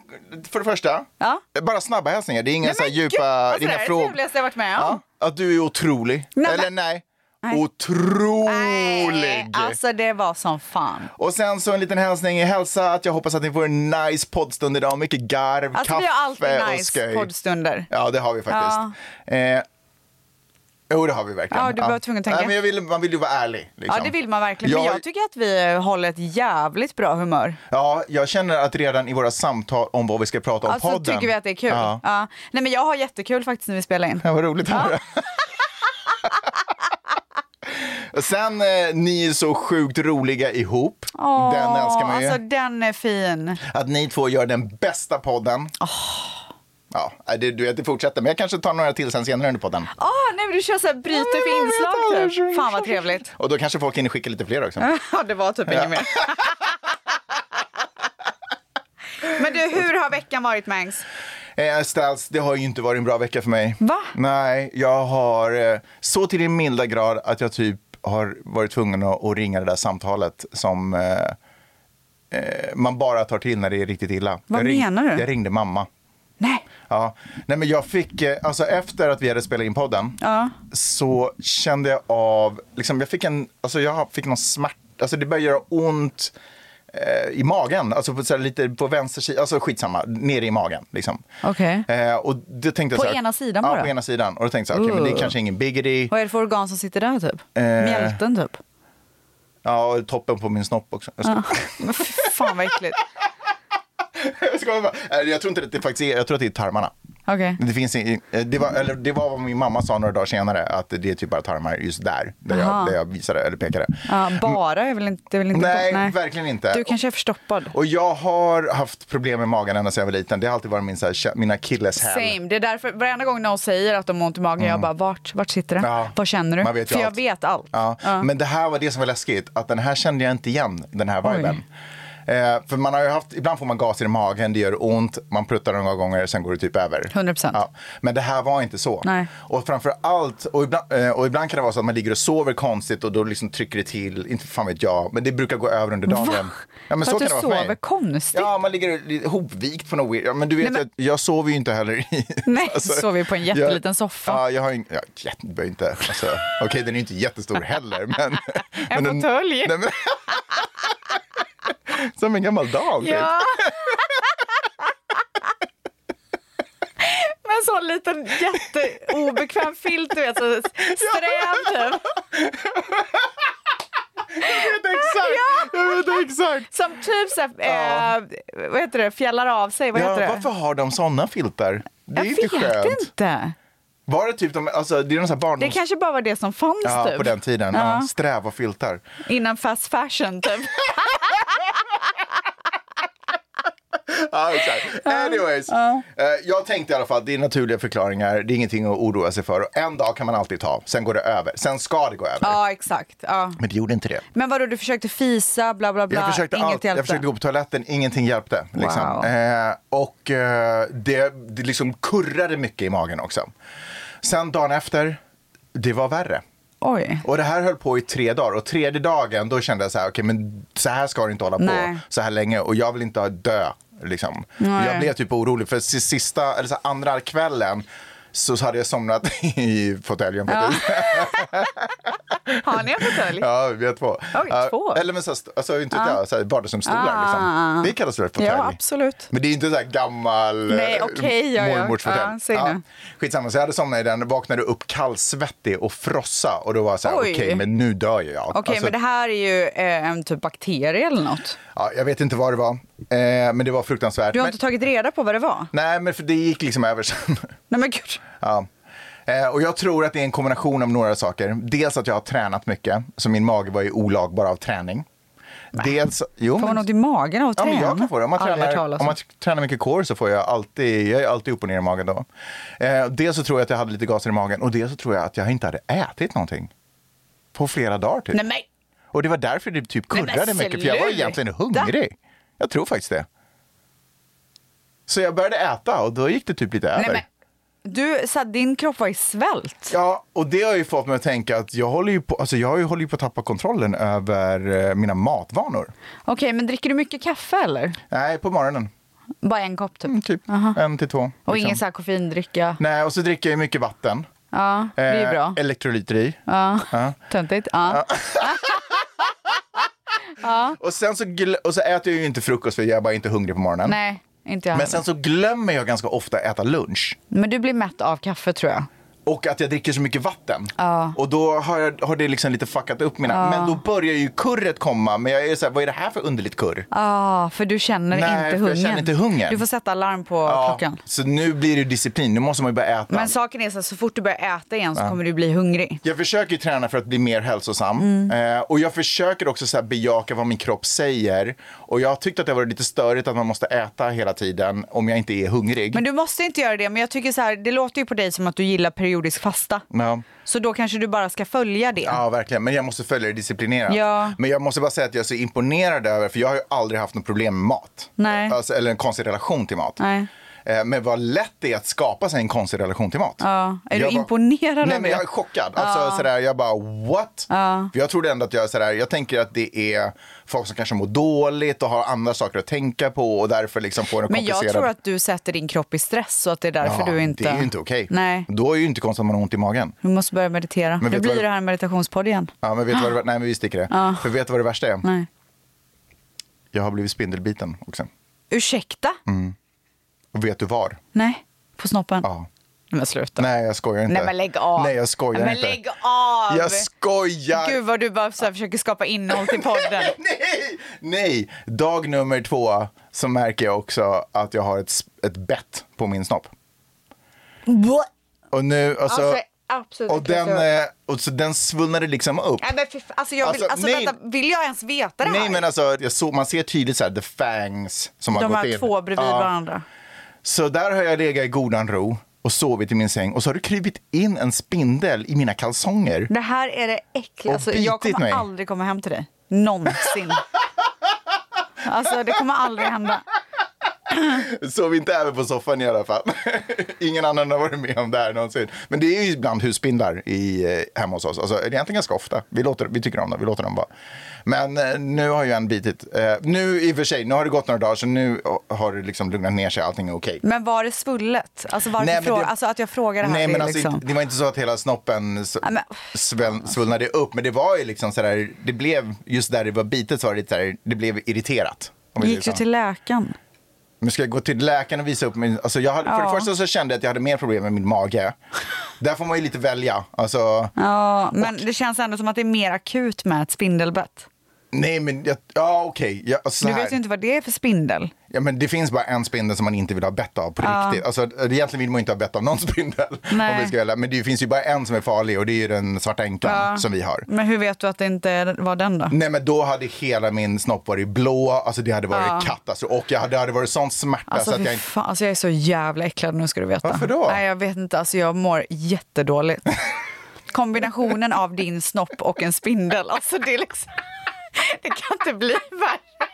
Speaker 2: för det första,
Speaker 1: Ja.
Speaker 2: bara snabba hälsningar. Det är inga
Speaker 1: Nej,
Speaker 2: så här
Speaker 1: men gud,
Speaker 2: djupa,
Speaker 1: alltså,
Speaker 2: det är inga
Speaker 1: det är det
Speaker 2: frågor.
Speaker 1: trevligaste jag varit med om.
Speaker 2: Ja, att du är otrolig.
Speaker 1: Nej,
Speaker 2: Eller
Speaker 1: men-
Speaker 2: nej,
Speaker 1: Nej. Nej,
Speaker 2: otrolig.
Speaker 1: alltså det var som fan.
Speaker 2: Och sen så en liten hälsning, hälsa att jag hoppas att ni får en nice poddstund idag. Mycket garv,
Speaker 1: Alltså
Speaker 2: kaffe
Speaker 1: vi har alltid
Speaker 2: och
Speaker 1: nice
Speaker 2: sköj.
Speaker 1: poddstunder.
Speaker 2: Ja, det har vi faktiskt. Eh, jo, det har vi verkligen.
Speaker 1: Ja, du var tvungen att tänka.
Speaker 2: Nej, men jag vill, man vill ju vara ärlig. liksom.
Speaker 1: Ja det vill man verkligen. Men
Speaker 2: Jag-
Speaker 1: jag tycker att vi håller ett jävligt bra humör.
Speaker 2: Ja, jag känner att redan i våra samtal om vad vi ska prata om
Speaker 1: Alltså
Speaker 2: podden.
Speaker 1: tycker vi att det är kul.
Speaker 2: Ja.
Speaker 1: Ja. Nej men jag har jättekul faktiskt när vi spelar in.
Speaker 2: Ja, vad roligt att höra. Sen, eh, ni är så sjukt roliga ihop. den älskar man ju.
Speaker 1: Alltså den är fin.
Speaker 2: Att ni två gör den bästa podden. Ja, nej, det, du vet, det fortsätter. Men jag kanske tar några till sen senare under podden.
Speaker 1: Ah, nej men du kör såhär bryter för inslag typ. Fan vad trevligt.
Speaker 2: Och då kanske folk hinner skicka lite fler också.
Speaker 1: Ja det var typ inget mer. Men du, hur har veckan varit Mangs?
Speaker 2: Eh, Ställs, det har ju inte varit en bra vecka för mig.
Speaker 1: Va?
Speaker 2: Nej, jag har eh, så till den milda grad att jag typ har varit tvungen att, att ringa det där samtalet som eh, eh, man bara tar till när det är riktigt illa.
Speaker 1: Vad
Speaker 2: jag ring-
Speaker 1: menar du?
Speaker 2: Jag ringde mamma.
Speaker 1: Nej.
Speaker 2: Ja. Nej, men jag fick, eh, alltså efter att vi hade spelat in podden
Speaker 1: Ja.
Speaker 2: så kände jag av, liksom, jag fick en, alltså jag fick någon smärta, alltså det började göra ont eh, i magen, alltså på, så här, lite på vänster sida, alltså skitsamma, nere i magen liksom.
Speaker 1: Okej.
Speaker 2: Eh, och det tänkte
Speaker 1: På
Speaker 2: jag så här,
Speaker 1: ena sidan
Speaker 2: ja,
Speaker 1: bara?
Speaker 2: på ena sidan. Och då tänkte jag, okej, men det är kanske ingen biggity.
Speaker 1: Vad är det för organ som sitter där typ?
Speaker 2: Eh.
Speaker 1: Mjälten typ?
Speaker 2: Ja, och toppen på min snopp också. Jag skojar.
Speaker 1: Men fy fan vad äckligt.
Speaker 2: Jag skojar bara. Eh, Jag tror inte att det faktiskt är, jag tror att det är tarmarna.
Speaker 1: Okej.
Speaker 2: Det, finns i, eh, det, var, eller det var vad min mamma sa några dagar senare, att det är typ bara tarmar just där, där, jag,
Speaker 1: Aha.
Speaker 2: där jag visade eller pekade.
Speaker 1: Ja, bara är väl inte... Det är väl inte
Speaker 2: Nej, verkligen inte.
Speaker 1: Du kanske är förstoppad.
Speaker 2: Och jag har haft problem med magen ända sedan jag var liten. Det har alltid varit min, så här, kä- mina akilleshäl.
Speaker 1: Same. Det är därför varenda gång någon säger att de har ont i magen, jag bara vart, vart sitter det?
Speaker 2: Ja.
Speaker 1: Vad känner du?
Speaker 2: Man vet ju
Speaker 1: För jag
Speaker 2: allt.
Speaker 1: vet allt.
Speaker 2: Ja.
Speaker 1: Ja.
Speaker 2: Men det här var det som var läskigt, att den här kände jag inte igen, den här
Speaker 1: Oj.
Speaker 2: viben. Eh, för man har ju haft, ibland får man gas i magen, det gör ont, man pruttar några gånger, sen går det typ över.
Speaker 1: 100%.
Speaker 2: Ja. Men det här var inte så.
Speaker 1: Nej.
Speaker 2: Och framför allt, och ibland, eh, och ibland kan det vara så att man ligger och sover konstigt och då liksom trycker det till, inte fan vet jag, men det brukar gå över under dagen. Ja, men
Speaker 1: För
Speaker 2: så
Speaker 1: att
Speaker 2: kan
Speaker 1: du
Speaker 2: det vara för mig.
Speaker 1: sover konstigt?
Speaker 2: Ja, man ligger lite hopvikt på något weird. Ja, men du vet,
Speaker 1: Nej, men-
Speaker 2: att Jag, sover ju inte heller i... alltså,
Speaker 1: Nej, sover ju på en jätteliten soffa.
Speaker 2: Ja, jag har en... Ja, jätte, det behöver inte... Alltså, Okej, den är ju inte jättestor heller, men...
Speaker 1: En
Speaker 2: men
Speaker 1: fåtölj.
Speaker 2: Nej, men, som en gammal dam, typ.
Speaker 1: Ja. Med en sån liten jätteobekväm filt, du vet, så sträv typ.
Speaker 2: Jag vet exakt! Jag vet exakt!
Speaker 1: Som typ så här, eh, vad heter det, fjällar av sig, vad
Speaker 2: Ja,
Speaker 1: heter det?
Speaker 2: varför har de sådana filtar? Det är
Speaker 1: jag
Speaker 2: inte
Speaker 1: vet
Speaker 2: skönt.
Speaker 1: inte.
Speaker 2: Var det typ de... Alltså, det är någon sån
Speaker 1: Det
Speaker 2: här barndoms...
Speaker 1: kanske bara var det som fanns
Speaker 2: Ja,
Speaker 1: typ.
Speaker 2: på den tiden. Ja.
Speaker 1: Ja.
Speaker 2: sträva filtar.
Speaker 1: Innan fast fashion typ.
Speaker 2: Ja, exakt. Anyways. Eh, jag tänkte i alla fall att det är naturliga förklaringar, det är ingenting att oroa sig för. Och en dag kan man alltid ta, sen går det över. Sen ska det gå över.
Speaker 1: ja, exakt. Ja.
Speaker 2: Men det gjorde inte det.
Speaker 1: Men vadå, du försökte fisa, bla bla bla,
Speaker 2: Jag försökte,
Speaker 1: inget
Speaker 2: allt. jag
Speaker 1: hjälpte?
Speaker 2: försökte gå på toaletten, ingenting hjälpte. Liksom.
Speaker 1: Wow.
Speaker 2: Eh, och eh, det, det liksom kurrade mycket i magen också. Sen dagen efter, det var värre.
Speaker 1: Oj.
Speaker 2: Och det här höll på i tre dagar och tredje dagen då kände jag så här, okej men så här ska det inte hålla på
Speaker 1: Nej.
Speaker 2: så här länge och jag vill inte dö liksom.
Speaker 1: Nej.
Speaker 2: Jag blev typ orolig för si- sista, eller så här, andra kvällen så hade jag somnat i fåtöljen. Ja.
Speaker 1: Har ni en fåtölj?
Speaker 2: ja, vi har två.
Speaker 1: Oj,
Speaker 2: Ja,
Speaker 1: två.
Speaker 2: Eller men så, här, alltså, inte vet jag, så här, vardagsrumsstolar.
Speaker 1: Ah.
Speaker 2: Liksom. Det kallas väl fåtölj?
Speaker 1: Ja, absolut.
Speaker 2: Men det är inte så här gammal
Speaker 1: Nej,
Speaker 2: eh,
Speaker 1: okej, ja, ja.
Speaker 2: mormors
Speaker 1: Ja,
Speaker 2: fåtölj.
Speaker 1: säg nu.
Speaker 2: skitsamma, så jag hade somnat i den, vaknade upp kallsvettig och frossa och då var jag så här,
Speaker 1: Oj.
Speaker 2: okej, men nu dör ju jag.
Speaker 1: Okej,
Speaker 2: Alltså,
Speaker 1: men det här är ju eh, en typ bakterie eller något.
Speaker 2: ja, jag vet inte vad det var, eh, men det var fruktansvärt.
Speaker 1: Du har
Speaker 2: men,
Speaker 1: inte tagit reda på vad det var?
Speaker 2: Nej, men för det gick liksom över sen.
Speaker 1: Nej men gud.
Speaker 2: Ja. Eh, Och jag tror att det är en kombination av några saker. Dels att jag har tränat mycket, så min mage var ju olagbar av träning. Dels, jo,
Speaker 1: Får man ont i magen av att
Speaker 2: ja, men
Speaker 1: träna?
Speaker 2: jag kan få det. Om man,
Speaker 1: Aldrig hört
Speaker 2: tränar,
Speaker 1: talas
Speaker 2: om
Speaker 1: om.
Speaker 2: man tränar mycket core så får jag alltid, jag är alltid upp och ner i magen då. Eh, dels så tror jag att jag hade lite gaser i magen och dels så tror jag att jag inte hade ätit någonting. På flera dagar typ.
Speaker 1: Nej men,
Speaker 2: Och det var därför det typ
Speaker 1: Nej, men
Speaker 2: kurrade mycket, för jag var
Speaker 1: sluta.
Speaker 2: egentligen hungrig. Jag tror faktiskt det. Så jag började äta och då gick det typ lite över.
Speaker 1: nej men. Du, så att din kropp var i svält.
Speaker 2: Ja, och det har ju fått mig att tänka att jag håller ju på, alltså jag har ju- håller ju på att tappa kontrollen över eh, mina matvanor.
Speaker 1: Okej, men dricker du mycket kaffe eller?
Speaker 2: Nej, på morgonen.
Speaker 1: Bara en kopp typ?
Speaker 2: Mm, typ en till två.
Speaker 1: Och
Speaker 2: liksom.
Speaker 1: ingen så här koffeindricka?
Speaker 2: Nej, och så dricker jag ju mycket vatten.
Speaker 1: Ja, det är ju
Speaker 2: Eh,
Speaker 1: bra.
Speaker 2: Elektrolyter i.
Speaker 1: Ja.
Speaker 2: Ja.
Speaker 1: Töntigt? Ja.
Speaker 2: Och sen så, gl- och så äter jag ju inte frukost för jag är bara inte hungrig på morgonen.
Speaker 1: Nej, inte jag
Speaker 2: Men
Speaker 1: men,
Speaker 2: sen så glömmer jag ganska ofta att äta lunch.
Speaker 1: men du blir mätt av kaffe tror jag.
Speaker 2: Och att jag dricker så mycket vatten.
Speaker 1: Ja.
Speaker 2: Och då har, jag, har det liksom lite fuckat upp mina... Men då börjar ju kurret komma. Men jag är så här, vad är det här för underligt kurr?
Speaker 1: Ja, för du känner
Speaker 2: Nej, för
Speaker 1: inte
Speaker 2: jag
Speaker 1: hungern.
Speaker 2: känner inte hungern.
Speaker 1: Du får sätta alarm på klockan.
Speaker 2: Så nu blir det ju disciplin, nu måste man ju börja äta.
Speaker 1: Men saken är så här, så fort du börjar äta igen så kommer du bli hungrig.
Speaker 2: Jag försöker ju träna för att bli mer hälsosam.
Speaker 1: Mm.
Speaker 2: Eh, och jag försöker också så här bejaka vad min kropp säger. Och jag tyckte att det var lite störigt att man måste äta hela tiden om jag inte är hungrig.
Speaker 1: Men du måste inte göra det. Men jag tycker så här, det låter ju på dig som att du gillar periodisk fasta.
Speaker 2: Ja.
Speaker 1: Så då kanske du bara ska följa det.
Speaker 2: Ja, verkligen. Men jag måste följa det disciplinerat.
Speaker 1: Ja.
Speaker 2: Men jag måste bara säga att jag är så imponerad över, för jag har ju aldrig haft något problem med mat.
Speaker 1: Nej.
Speaker 2: Alltså, eller en konstig relation till mat.
Speaker 1: Nej.
Speaker 2: Eh, Men vad lätt det är att skapa sig en konstig relation till mat.
Speaker 1: Ja. Är du
Speaker 2: Jag bara-
Speaker 1: imponerad av
Speaker 2: Nej, men
Speaker 1: det?
Speaker 2: jag är chockad. Alltså, sådär, jag bara what? För jag trodde ändå att jag sådär, jag tänker att det är folk som kanske mår dåligt och har andra saker att tänka på och därför liksom får en
Speaker 1: Men jag
Speaker 2: komplicerad-
Speaker 1: tror att du sätter din kropp i stress så att det är därför
Speaker 2: Ja,
Speaker 1: du inte...
Speaker 2: Det är ju inte okej.
Speaker 1: Nej,
Speaker 2: Då är ju inte konstigt att man har ont i magen.
Speaker 1: du måste börja meditera.
Speaker 2: Men
Speaker 1: nu
Speaker 2: vet
Speaker 1: blir
Speaker 2: du vad-
Speaker 1: det här en meditationspodd igen.
Speaker 2: Ja, men vet du vad det, nej, men vi sticker det. För vet du vad det värsta är?
Speaker 1: Nej.
Speaker 2: Jag har blivit spindelbiten också.
Speaker 1: Ursäkta?
Speaker 2: Och vet du var?
Speaker 1: Nej, på snoppen?
Speaker 2: Mm. Ja.
Speaker 1: Nej, men sluta.
Speaker 2: Nej, jag skojar inte.
Speaker 1: Nej, men lägg av.
Speaker 2: Nej, jag skojar
Speaker 1: Nej, men
Speaker 2: inte.
Speaker 1: lägg av.
Speaker 2: Jag skojar.
Speaker 1: Gud vad du bara så här försöker skapa innehåll till podden.
Speaker 2: Nej, nej. Dag nummer två så märker jag också att jag har ett, s- ett bett på min snopp. Och nu, alltså.
Speaker 1: Alltså, absolut
Speaker 2: och
Speaker 1: inte
Speaker 2: den,
Speaker 1: så.
Speaker 2: eh, och så den svullnade liksom upp.
Speaker 1: Nej, men fy fan, alltså, jag vill,
Speaker 2: Alltså,
Speaker 1: alltså,
Speaker 2: nej.
Speaker 1: vänta, vill jag ens veta det här?
Speaker 2: Nej men alltså, jag såg, man ser tydligt så här, the fangs som har
Speaker 1: De
Speaker 2: gått
Speaker 1: här
Speaker 2: in.
Speaker 1: två bredvid
Speaker 2: Ja.
Speaker 1: varandra.
Speaker 2: Så där har jag legat i godan ro och sovit i min säng och så har det krypit in en spindel i mina kalsonger.
Speaker 1: Det här är det äckliga.
Speaker 2: Och
Speaker 1: Alltså, jag
Speaker 2: bitit
Speaker 1: kommer
Speaker 2: mig.
Speaker 1: aldrig komma hem till dig. Någonsin. alltså det kommer aldrig hända.
Speaker 2: Sov inte över på soffan i alla fall. Ingen annan har varit med om det här någonsin. Men det är ju ibland husspindlar i, eh, hemma hos oss. Alltså, det är egentligen ganska ofta. Vi, låter, vi tycker om dem, vi låter dem vara. Men eh, nu har ju en bitit. Eh, nu i och för sig, nu har det gått några dagar så nu har det liksom lugnat ner sig, allting är okej.
Speaker 1: Men var det svullet? Alltså, varför
Speaker 2: Nej, men
Speaker 1: fråga,
Speaker 2: det-
Speaker 1: alltså att jag frågar det här
Speaker 2: Nej,
Speaker 1: är
Speaker 2: men alltså,
Speaker 1: liksom...
Speaker 2: inte- det var inte så att hela snoppen s-
Speaker 1: Ja, men-
Speaker 2: sväll, svullnade upp, men det var ju liksom sådär, det blev, just där det var bitet så var det lite sådär, det blev irriterat. om vi
Speaker 1: Gick du
Speaker 2: säger så.
Speaker 1: till läkaren?
Speaker 2: Nu ska jag gå till läkaren och visa upp min... Alltså jag hade, För
Speaker 1: Ja.
Speaker 2: det första så kände jag att jag hade mer problem med min mage. Där får man ju lite välja. Alltså,
Speaker 1: Ja, men det känns ändå som att det är mer akut med ett spindelbett.
Speaker 2: nej men, jag, ja okej. Jag- alltså, så
Speaker 1: Du
Speaker 2: här.
Speaker 1: vet ju inte vad det är för spindel.
Speaker 2: ja, men det finns bara en spindel som man inte vill ha bett av på riktigt. Alltså, egentligen vill man ju inte ha bett av någon spindel.
Speaker 1: Nej.
Speaker 2: Om vi ska göra. men det finns ju bara en som är farlig och det är ju den svarta änkan
Speaker 1: Ja.
Speaker 2: som vi har.
Speaker 1: Men hur vet du att det inte var den då?
Speaker 2: Nej men då hade hela min snopp varit blå, alltså det hade varit katastrof. Och jag hade, det hade varit sån smärta
Speaker 1: Alltså,
Speaker 2: så att
Speaker 1: fy
Speaker 2: jag inte...
Speaker 1: fan, alltså jag är så jävla äcklad nu ska du veta.
Speaker 2: Varför då?
Speaker 1: Nej jag vet inte, alltså jag mår jättedåligt. Kombinationen av din snopp och en spindel, alltså det är liksom... Det kan inte bli värre.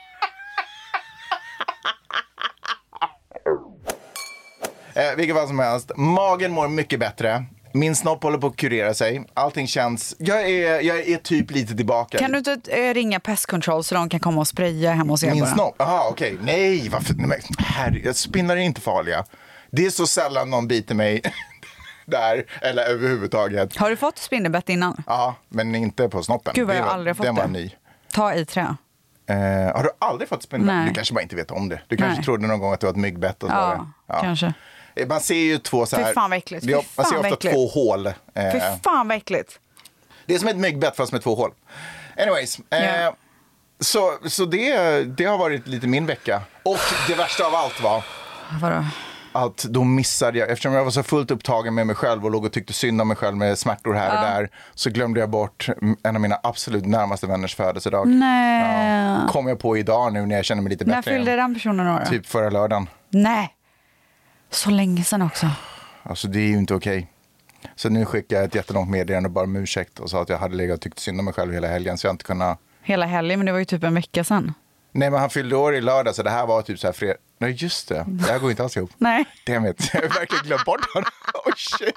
Speaker 2: Eh, vilket fall som helst, magen mår mycket bättre. Min snopp håller på att kurera sig. Allting känns... Jag är, jag är typ lite tillbaka.
Speaker 1: Kan du inte eh, ringa pest control så de kan komma och spraya hemma hos er
Speaker 2: Min
Speaker 1: bara?
Speaker 2: snopp? Jaha, okej. Nej, varför? Nej, men, herre, spindlar är inte farliga. Det är så sällan någon biter mig. där, eller överhuvudtaget.
Speaker 1: Har du fått spindelbett innan?
Speaker 2: Ja, men inte på snoppen.
Speaker 1: Gud vad
Speaker 2: Det
Speaker 1: jag
Speaker 2: var-
Speaker 1: aldrig har fått
Speaker 2: Den
Speaker 1: det.
Speaker 2: var ny.
Speaker 1: Ta i trä.
Speaker 2: Eh, har du aldrig fått spindlar?
Speaker 1: Nej.
Speaker 2: Du kanske bara inte vet om det. Du kanske
Speaker 1: Nej.
Speaker 2: trodde någon gång att det var ett myggbett. Och så
Speaker 1: Ja,
Speaker 2: var det-
Speaker 1: kanske.
Speaker 2: Eh, Man ser ju två så
Speaker 1: Fy
Speaker 2: här...
Speaker 1: fan, vad äckligt.
Speaker 2: Det är-
Speaker 1: Fy
Speaker 2: man ser
Speaker 1: fan,
Speaker 2: ofta
Speaker 1: vad äckligt.
Speaker 2: två hål. eh,
Speaker 1: Fy fan vad äckligt.
Speaker 2: det är som ett myggbett fast med två hål. Anyways. Eh,
Speaker 1: Ja.
Speaker 2: Så, så det, det har varit lite min vecka. Och det värsta av allt var
Speaker 1: Vadå?
Speaker 2: att då missade jag, eftersom jag var så fullt upptagen med mig själv och låg och tyckte synd om mig själv med smärtor här och där, så glömde jag bort en av mina absolut närmaste vänners födelsedag.
Speaker 1: Nej.
Speaker 2: Ja. Kom jag på idag nu när jag känner mig lite
Speaker 1: Mm. När
Speaker 2: bättre.
Speaker 1: fyllde
Speaker 2: igen.
Speaker 1: den personen år då?
Speaker 2: Typ förra lördagen.
Speaker 1: Nej. Så länge sedan också.
Speaker 2: Alltså det är ju inte okej. Så nu skickade jag ett jättelångt meddelande och bara om ursäkt och sa att jag hade legat och tyckt synd om mig själv hela helgen så jag inte kunnat.
Speaker 1: Hela helgen, men det var ju typ en vecka sedan.
Speaker 2: Nej men han fyllde år i lördag så det här var typ så här fredag. Nej just det, det här går inte alls ihop.
Speaker 1: Nej.
Speaker 2: Damn it, jag har verkligen glömt bort honom. Oh shit.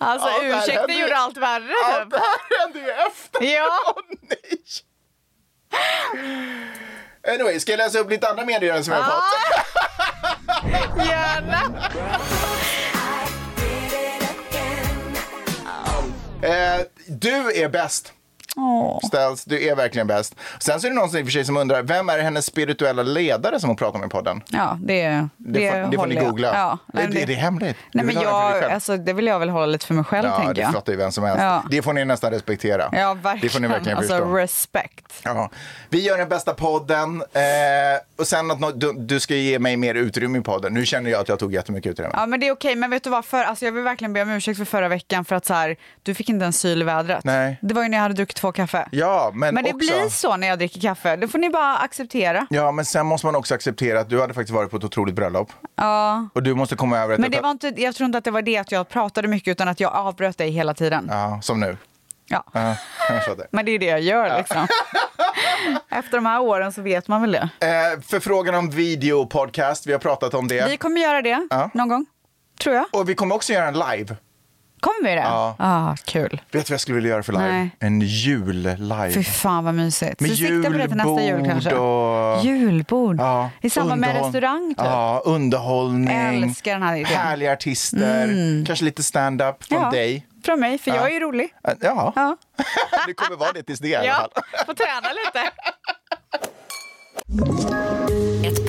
Speaker 1: Alltså
Speaker 2: Ja, där
Speaker 1: ursäkta
Speaker 2: hände-
Speaker 1: gjorde allt värre
Speaker 2: Ja,
Speaker 1: typ.
Speaker 2: det här hände ju efter.
Speaker 1: Ja.
Speaker 2: Åh, nej. Anyway, ska jag läsa upp lite andra meddelanden som jag har fått?
Speaker 1: Gärna.
Speaker 2: Eh, du är bäst. Ställs, du är verkligen bäst. Sen så är det någon som i och för sig som undrar, vem är hennes spirituella ledare som hon pratar om i podden?
Speaker 1: Ja, det, det,
Speaker 2: Det, får, det får
Speaker 1: håller
Speaker 2: ni
Speaker 1: jag.
Speaker 2: googla.
Speaker 1: Ja, nej,
Speaker 2: är, det, är det hemligt? Du
Speaker 1: Nej,
Speaker 2: vill
Speaker 1: men
Speaker 2: ha den för dig
Speaker 1: jag,
Speaker 2: själv?
Speaker 1: alltså, det vill jag väl hålla lite för mig själv,
Speaker 2: ja,
Speaker 1: tänker
Speaker 2: det
Speaker 1: jag.
Speaker 2: fattar ju vem som helst.
Speaker 1: Ja.
Speaker 2: Det får ni nästan respektera.
Speaker 1: Ja, verkligen.
Speaker 2: Det får ni verkligen
Speaker 1: alltså,
Speaker 2: förstå.
Speaker 1: respekt.
Speaker 2: Ja. Vi gör den bästa podden. Eh, och sen att nå- du, du ska ge mig mer utrymme i podden. Nu känner jag att jag tog jättemycket utrymme.
Speaker 1: Ja, men det är okej. Men vet du vad? För, alltså, jag vill verkligen be om ursäkt för förra veckan för att så här, du fick inte en syl i vädret.
Speaker 2: Nej.
Speaker 1: Det var ju när jag hade druckit två kaffe.
Speaker 2: Ja, men,
Speaker 1: men det
Speaker 2: också...
Speaker 1: blir så när jag dricker kaffe. Det får ni bara acceptera.
Speaker 2: Ja, men sen måste man också acceptera att du hade faktiskt varit på ett otroligt bröllop.
Speaker 1: Ja.
Speaker 2: Och du måste komma över att...
Speaker 1: Men det var inte, jag tror inte att det var det att jag pratade mycket utan att jag avbröt dig hela tiden.
Speaker 2: Ja, som nu.
Speaker 1: Ja.
Speaker 2: Ja, jag fattar.
Speaker 1: Men det är det jag gör liksom. Efter de här åren så vet man väl det.
Speaker 2: Eh, förfrågan om videopodcast, vi har pratat om det.
Speaker 1: Vi kommer göra det
Speaker 2: Ja.
Speaker 1: någon gång, tror jag.
Speaker 2: Och vi kommer också göra en live.
Speaker 1: Kommer vi det?
Speaker 2: Ja.
Speaker 1: Ah, kul.
Speaker 2: Vet du vad jag skulle vilja göra för live?
Speaker 1: Nej.
Speaker 2: En jul-live.
Speaker 1: Fy fan vad mysigt.
Speaker 2: Med
Speaker 1: så siktar vi det till nästa jul
Speaker 2: julbord
Speaker 1: kanske.
Speaker 2: och-
Speaker 1: Julbord.
Speaker 2: Ja,
Speaker 1: I samband med
Speaker 2: underhåll-
Speaker 1: restaurang typ.
Speaker 2: Ja, underhållning.
Speaker 1: Älskar den här idén. Mm.
Speaker 2: Härliga artister. Kanske lite stand-up från
Speaker 1: Ja,
Speaker 2: dig.
Speaker 1: Från mig, för
Speaker 2: Ja.
Speaker 1: jag är ju rolig.
Speaker 2: Eh, Ja,
Speaker 1: Ja.
Speaker 2: det kommer vara det tills det i alla
Speaker 1: Ja,
Speaker 2: fall.
Speaker 1: får träna lite.
Speaker 3: Ett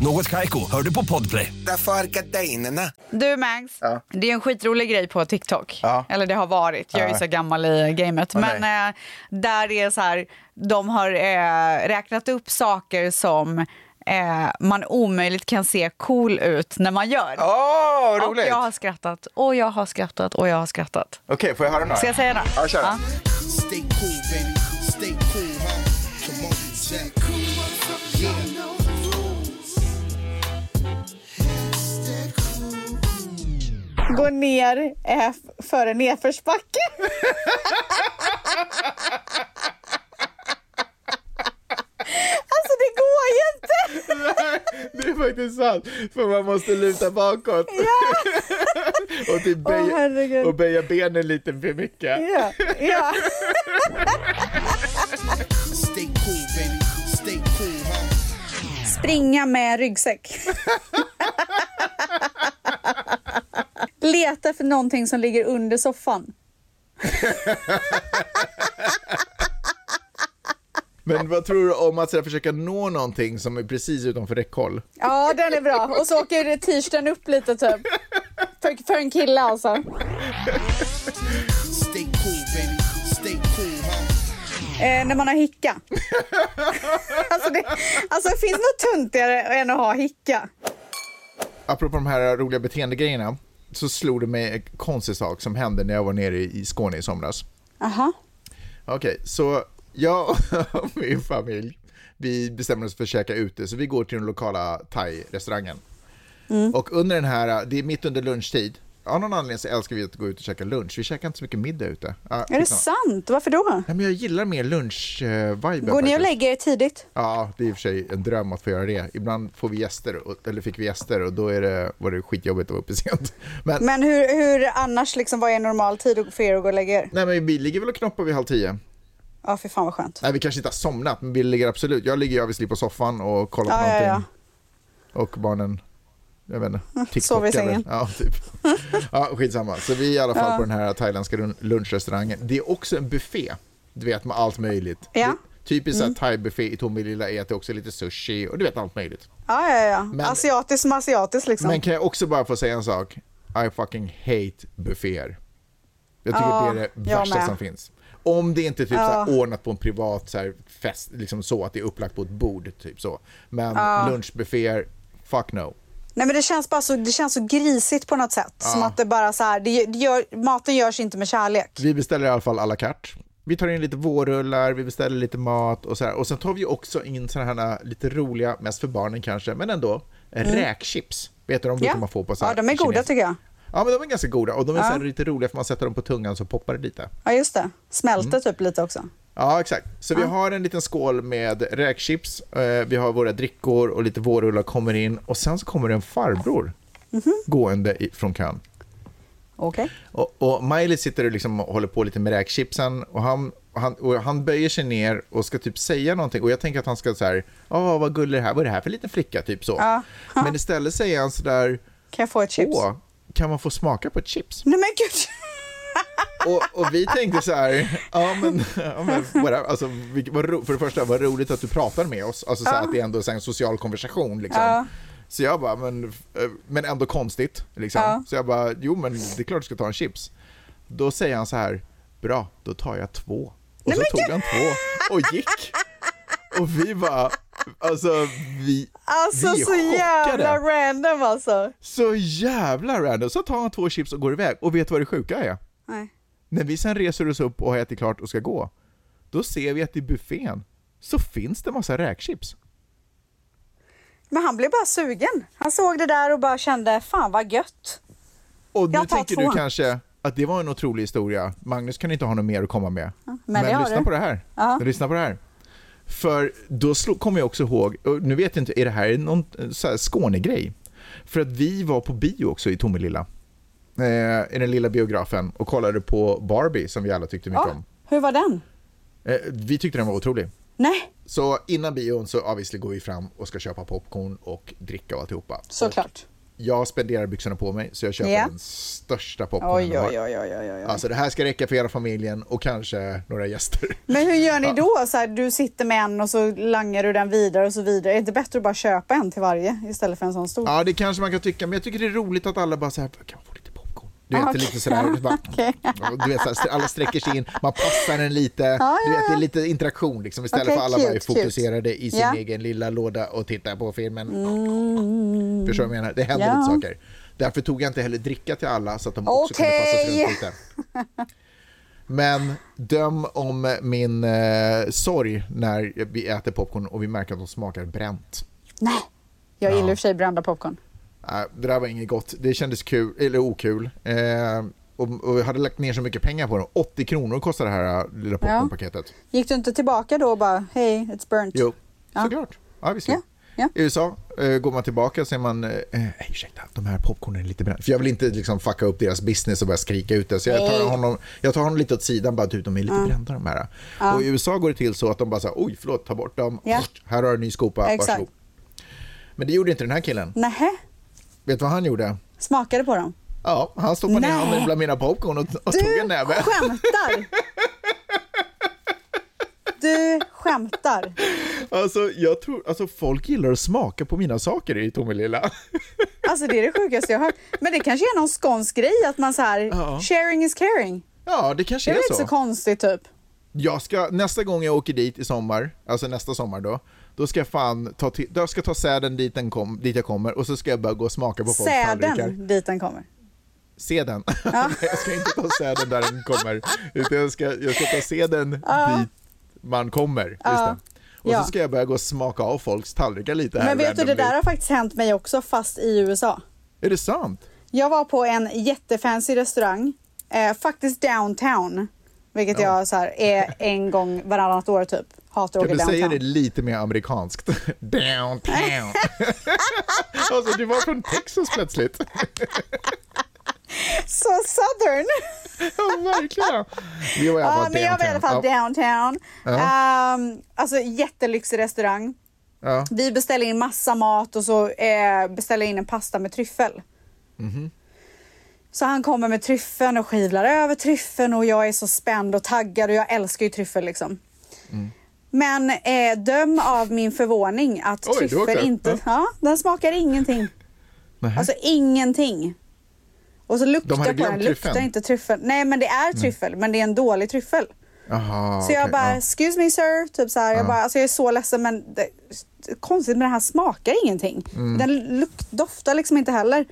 Speaker 5: Något Kaiko, hör du på Podplay.
Speaker 6: Därför är gardinerna.
Speaker 1: Du Mangs, det är en skitrolig grej på TikTok.
Speaker 2: Ja.
Speaker 1: Eller det har varit, jag är ju
Speaker 2: Ja.
Speaker 1: så gammal i gamet.
Speaker 2: Okej.
Speaker 1: Men eh, där är så här, de har eh, räknat upp saker som eh, man omöjligt kan se cool ut när man gör.
Speaker 2: Åh,
Speaker 1: och
Speaker 2: roligt!
Speaker 1: jag har skrattat, och jag har skrattat, och jag har skrattat.
Speaker 2: Okej, får jag höra några?
Speaker 1: Ska jag säga några?
Speaker 2: Ja, kör.
Speaker 1: Ja.
Speaker 7: Stay cool, baby. Stay cool, huh? Come on, Jack.
Speaker 1: Gå ner eh, f- för en nedförsbacke. alltså det går ju inte!
Speaker 2: Det är faktiskt sant, för man måste luta bakåt. och, typ
Speaker 1: Åh, herregud. och
Speaker 2: böja benen lite för mycket.
Speaker 1: Ja, ja.
Speaker 7: Stay cool, baby. Stay cool, huh?
Speaker 1: Springa med ryggsäck. Leta för någonting som ligger under soffan.
Speaker 2: Men vad tror du om att så här, försöka nå någonting som är precis utanför räckhåll?
Speaker 1: Ja, den är bra. Och så åker t-shirten upp lite typ. För, för en kille alltså.
Speaker 7: Stay cool, baby. Stay cool, huh?
Speaker 1: Eh, när man har hicka. alltså, det, alltså det finns något tuntigare än att ha hicka.
Speaker 2: Apropå de här roliga beteendegrejerna så slog det mig en konstig sak som hände när jag var nere i Skåne i somras.
Speaker 1: Aha.
Speaker 2: Okej, så jag och min familj, vi bestämmer oss för att käka ute, så vi
Speaker 1: Mm.
Speaker 2: går till den lokala thai-restaurangen. Och under den här, det är mitt under lunchtid,
Speaker 8: Av någon anledning så älskar vi att gå ut och käka lunch. Vi käkar inte så mycket middag ute. Ah,
Speaker 1: Är det
Speaker 8: skitsamma.
Speaker 1: sant? Varför då?
Speaker 8: Nej, men jag gillar mer lunch-viben.
Speaker 1: Går ni och lägger er tidigt?
Speaker 8: Ja, det är i och för sig en dröm att få göra det. Ibland får vi gäster, och- eller fick vi gäster och då är det, var det skitjobbigt att vara uppe sent. Men,
Speaker 1: Men hur, hur annars, liksom, vad är normal tid för er att gå och lägga er?
Speaker 8: Nej, men vi ligger väl och knoppar vid halv tio.
Speaker 1: Ja, för fan vad skönt.
Speaker 8: Nej, vi kanske inte har somnat, men vi ligger absolut. Jag ligger överst på soffan och kollar på
Speaker 1: Ja, ja,
Speaker 8: någonting. Och barnen, jag vet inte, TikTok
Speaker 1: Sover i
Speaker 8: eller-
Speaker 1: sängen.
Speaker 8: Ja, typ. ja, skitsamma. Så vi är i alla fall
Speaker 1: Ja.
Speaker 8: på den här thailändska run- lunchrestaurangen. Det är också en buffé, du vet, med allt möjligt.
Speaker 1: Ja.
Speaker 8: Typiskt
Speaker 1: Mm.
Speaker 8: mm. thai-buffé i Tomelilla är att det också är lite sushi och du vet allt möjligt.
Speaker 1: Ja, ja, ja.
Speaker 8: Men-
Speaker 1: Asiatiskt som asiatiskt liksom.
Speaker 8: Men kan jag också bara få säga en sak? I fucking hate bufféer. Jag tycker
Speaker 1: Ja,
Speaker 8: det är det
Speaker 1: jag
Speaker 8: värsta
Speaker 1: med.
Speaker 8: som finns. Om det inte är typ
Speaker 1: Ja.
Speaker 8: så här ordnat på en privat så här fest, liksom så att det är upplagt på ett bord, typ så. Men
Speaker 1: Ja.
Speaker 8: lunchbufféer, fuck no.
Speaker 1: Nej, men det känns bara så, det känns så grisigt på något sätt.
Speaker 8: Ja.
Speaker 1: Som att det bara så här, det, det gör, maten görs inte med kärlek.
Speaker 8: Vi beställer i alla fall à la carte. Vi tar in lite vårrullar, vi beställer lite mat och så här. Och sen tar vi också in sådana här lite roliga, mest för barnen kanske, men ändå,
Speaker 1: Mm.
Speaker 8: räkchips. Vet du, de brukar man få på så här
Speaker 1: ja, de är goda
Speaker 8: kines-
Speaker 1: tycker jag.
Speaker 8: Ja, men de är ganska goda och de är
Speaker 1: Ja.
Speaker 8: så här lite roliga för man sätter dem på tungan så poppar det lite.
Speaker 1: Ja, just det. Smälter
Speaker 8: Mm.
Speaker 1: typ lite också.
Speaker 8: Ja, exakt. Så vi har en liten skål med räkchips, eh, vi har våra drickor och lite vårrullar kommer in och sen så kommer det en farbror
Speaker 1: Mhm.
Speaker 8: gående i- från kön.
Speaker 1: Okej.
Speaker 8: Och, och Miley sitter och liksom håller på lite med räkchipsen och han, och han, och han böjer sig ner och ska typ säga någonting och jag tänker att han ska så här, ja vad gullig det här, vad är det här för liten flicka, typ så.
Speaker 1: Ja.
Speaker 8: Men istället säger han så där,
Speaker 1: kan jag få ett chips?
Speaker 8: Åh, kan man få smaka på ett chips?
Speaker 1: Nej men gud.
Speaker 8: Och, och vi tänkte så här, ja men, ja, men bara, alltså, vilket- vad ro, för det första, vad roligt att du pratar med oss, alltså så här,
Speaker 1: Ja.
Speaker 8: att det är ändå så här, en social konversation liksom.
Speaker 1: Ja.
Speaker 8: Så jag bara, men, eh, men ändå konstigt liksom.
Speaker 1: Ja.
Speaker 8: Så jag bara, jo men det är klart du ska ta en chips. Då säger han så här, bra, då tar jag två. Och
Speaker 1: Nej,
Speaker 8: så
Speaker 1: men
Speaker 8: tog
Speaker 1: gud.
Speaker 8: han två och gick. Och vi bara, alltså vi,
Speaker 1: Alltså
Speaker 8: vi är
Speaker 1: så jävla random alltså.
Speaker 8: Så jävla random. Så tar han två chips och går iväg. Och vet du vad det sjuka är?
Speaker 1: Nej.
Speaker 8: När vi sen reser oss upp och har ätit klart och ska gå, då ser vi att i buffén så finns det massa räkchips.
Speaker 1: Men han blev bara sugen. Han såg det där och bara kände, fan vad gött.
Speaker 8: Och nu
Speaker 1: Jag tar
Speaker 8: tänker
Speaker 1: två.
Speaker 8: du kanske att det var en otrolig historia. Magnus kan inte ha något mer att komma med.
Speaker 1: men det har
Speaker 8: lyssna
Speaker 1: du.
Speaker 8: på det här.
Speaker 1: Ja.
Speaker 8: Lyssna på det här. För då slo- kommer jag också ihåg, och nu vet jag inte, är det här någon eh, så här Skånegrej? För att vi var på bio också i Tomelilla, eh, i den lilla biografen och kollade på Barbie som vi alla tyckte mycket om.
Speaker 1: Hur var den?
Speaker 8: Eh, vi tyckte den var otrolig.
Speaker 1: Nej.
Speaker 8: Så innan bion så obviously går vi fram och ska köpa popcorn och dricka och alltihopa.
Speaker 1: Såklart.
Speaker 8: Jag spenderar byxorna på mig så jag köper
Speaker 1: Ja.
Speaker 8: den största popcornen
Speaker 1: Oj,
Speaker 8: de har.
Speaker 1: oj, oj, oj, oj, oj.
Speaker 8: Alltså det här ska räcka för hela familjen och kanske några gäster.
Speaker 1: Men hur gör ni
Speaker 8: Ja.
Speaker 1: då? Så här, du sitter med en och så langar du den vidare och så vidare. Är det inte bättre att bara köpa en till varje istället för en sån stor?
Speaker 8: Ja, det kanske man kan tycka, men jag tycker det är roligt att alla bara så här, kan man få lite popcorn? Du vet,
Speaker 1: Okej.
Speaker 8: lite sådär, bara, du vet, så här, alla sträcker sig in, man passar den lite,
Speaker 1: Ja,
Speaker 8: du
Speaker 1: ja,
Speaker 8: vet, det
Speaker 1: ja.
Speaker 8: är lite interaktion liksom, istället
Speaker 1: Okej,
Speaker 8: för alla bara är
Speaker 1: cute, cute.
Speaker 8: fokuserade i sin
Speaker 1: Ja.
Speaker 8: egen lilla låda och tittar på filmen.
Speaker 1: Mm.
Speaker 8: Förstår du vad jag menar? Det händer
Speaker 1: Ja.
Speaker 8: lite saker. Därför tog jag inte heller dricka till alla så att de också kunde
Speaker 1: Okej.
Speaker 8: passa sig runt lite. Men döm om min eh, sorg när vi äter popcorn och vi märker att de smakar bränt.
Speaker 1: Nej, jag gillar i och för sig brända popcorn.
Speaker 8: Nej, det där var inget gott. Det kändes kul, eller okul. Eh, och, och jag hade lagt ner så mycket pengar på dem. 80 kronor kostar det här eh, lilla popcornpaketet.
Speaker 1: Gick du inte tillbaka då och bara, hej, it's burnt?
Speaker 8: Jo, såklart. Ja, visst. I USA eh, går man tillbaka så är man, eh, eh, ursäkta, de här popcornen är lite brända. För jag vill inte liksom fucka upp deras business och börja skrika ut det. Så jag tar,
Speaker 9: Nej.
Speaker 8: honom, jag tar honom lite åt sidan, bara du, de är lite
Speaker 9: Ja.
Speaker 8: brända de här.
Speaker 9: Ja.
Speaker 8: Och i USA går det till så att de bara säger, oj, förlåt, ta bort dem.
Speaker 1: Ja.
Speaker 8: Här har du en ny skopa,
Speaker 1: Exakt.
Speaker 8: varsågod. Men det gjorde inte den här killen.
Speaker 1: Nähä,
Speaker 8: Vet du vad han gjorde?
Speaker 1: smakade på dem?
Speaker 8: Ja, han stoppade ner
Speaker 1: Nej.
Speaker 8: handen bland mina popcorn och, och
Speaker 1: Du
Speaker 8: tog en näve.
Speaker 1: skämtar! Du skämtar.
Speaker 8: Alltså, jag tror, alltså, folk gillar att smaka på mina saker i Tomelilla.
Speaker 1: Alltså det är det sjukaste jag har hört. Men det kanske är någon skånsk grej att man så här,
Speaker 8: Ja.
Speaker 1: sharing is caring.
Speaker 8: Ja, det kanske
Speaker 1: det
Speaker 8: är
Speaker 1: är
Speaker 8: så.
Speaker 1: inte så konstigt typ.
Speaker 8: Jag ska, nästa gång jag åker dit i sommar, alltså nästa sommar då, då ska jag fan ta, till, jag ska ta säden dit, den kom, dit jag kommer och så ska jag bara gå och smaka på folks tallrikar.
Speaker 1: Säden dit den kommer.
Speaker 8: Seden. Nej, jag ska inte ta säden där den kommer, utan jag ska, jag ska ta seden
Speaker 1: Ja.
Speaker 8: dit man kommer. Just
Speaker 1: Ja.
Speaker 8: det. Och
Speaker 1: Ja.
Speaker 8: så ska jag börja gå och smaka av folks tallrikar lite här
Speaker 1: Men vet du, det
Speaker 8: randomly.
Speaker 1: där har faktiskt hänt mig också fast i USA.
Speaker 8: Är det sant?
Speaker 1: Jag var på en jättefancy restaurang, eh, faktiskt downtown. Vilket jag så här, är en gång varannat år typ. Hatar att
Speaker 8: Kan
Speaker 1: åka
Speaker 8: du
Speaker 1: downtown.
Speaker 8: säga det lite mer amerikanskt? Downtown. alltså, du var från Texas plötsligt.
Speaker 1: Så southern!
Speaker 8: ja, verkligen. Vi var i alla
Speaker 1: Ja,
Speaker 8: fall
Speaker 1: men jag var i alla fall
Speaker 8: downtown. Ja.
Speaker 1: downtown.
Speaker 8: Ja.
Speaker 1: Ehm, alltså jättelyxig restaurang.
Speaker 8: Ja.
Speaker 1: Vi beställde in massa mat och så eh, beställde jag in en pasta med tryffel.
Speaker 10: Mhm.
Speaker 1: Så han kommer med tryffeln och skivlar över tryffeln och jag är så spänd och taggad och jag älskar ju tryffel liksom.
Speaker 10: Mm.
Speaker 1: Men eh, döm av min förvåning att
Speaker 10: Oj, det var
Speaker 1: tryffel
Speaker 10: klart.
Speaker 1: inte,
Speaker 10: Ja. Mm.
Speaker 1: ja. den smakar ingenting.
Speaker 8: Nähä.
Speaker 1: Alltså ingenting. Och så luktar
Speaker 8: De hade
Speaker 1: jag på den,
Speaker 8: glömt
Speaker 1: luktar
Speaker 8: tryffeln.
Speaker 1: inte tryffel. Nej men det är tryffel, men det är en dålig tryffel.
Speaker 8: Jaha,
Speaker 1: så jag
Speaker 8: Ah, okej, Ah.
Speaker 1: bara,
Speaker 8: ja.
Speaker 1: excuse me sir, typ så här.
Speaker 8: Ja.
Speaker 1: Jag, bara, alltså, jag är så ledsen men det, konstigt men den här smakar ingenting.
Speaker 10: Mm.
Speaker 1: Den luk, doftar liksom inte heller.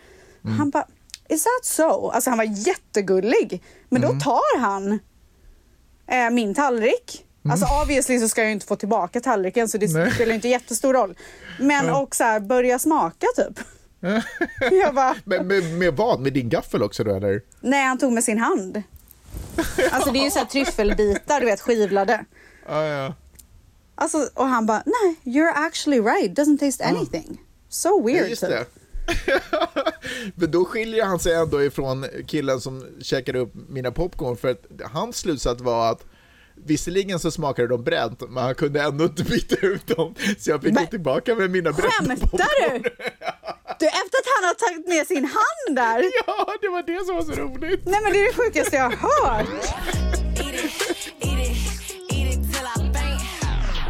Speaker 8: Mm.
Speaker 1: Han bara, is that so? Alltså han var jättegullig. Men
Speaker 8: Mm.
Speaker 1: då tar han eh, min tallrik.
Speaker 8: Mm.
Speaker 1: Alltså obviously så ska jag ju inte få tillbaka tallriken så det spelar ju inte jättestor roll. Men
Speaker 8: Ja.
Speaker 1: och så här, börja smaka typ. jag bara,
Speaker 8: Men med, med vad? Med din gaffel också då eller?
Speaker 1: Nej, han tog med sin hand. Alltså det är ju så här tryffelbitar, du vet skivlade.
Speaker 8: Ja, ja.
Speaker 1: Alltså, och han bara, nej, you're actually right, doesn't
Speaker 2: Ah.
Speaker 1: taste anything. So
Speaker 8: Ja,
Speaker 1: weird.
Speaker 8: Just
Speaker 1: typ.
Speaker 8: det. Men då skiljer han sig ändå ifrån killen som käkade upp mina popcorn för att hans slutsats var att visserligen så smakade de bränt men han kunde ändå inte byta ut dem så jag fick gå tillbaka med mina brända popcorn.
Speaker 1: Skämtar du? Du, efter att han har tagit med sin hand där.
Speaker 8: Ja, det var det som var så roligt.
Speaker 1: Nej, men det är det sjukaste jag har hört.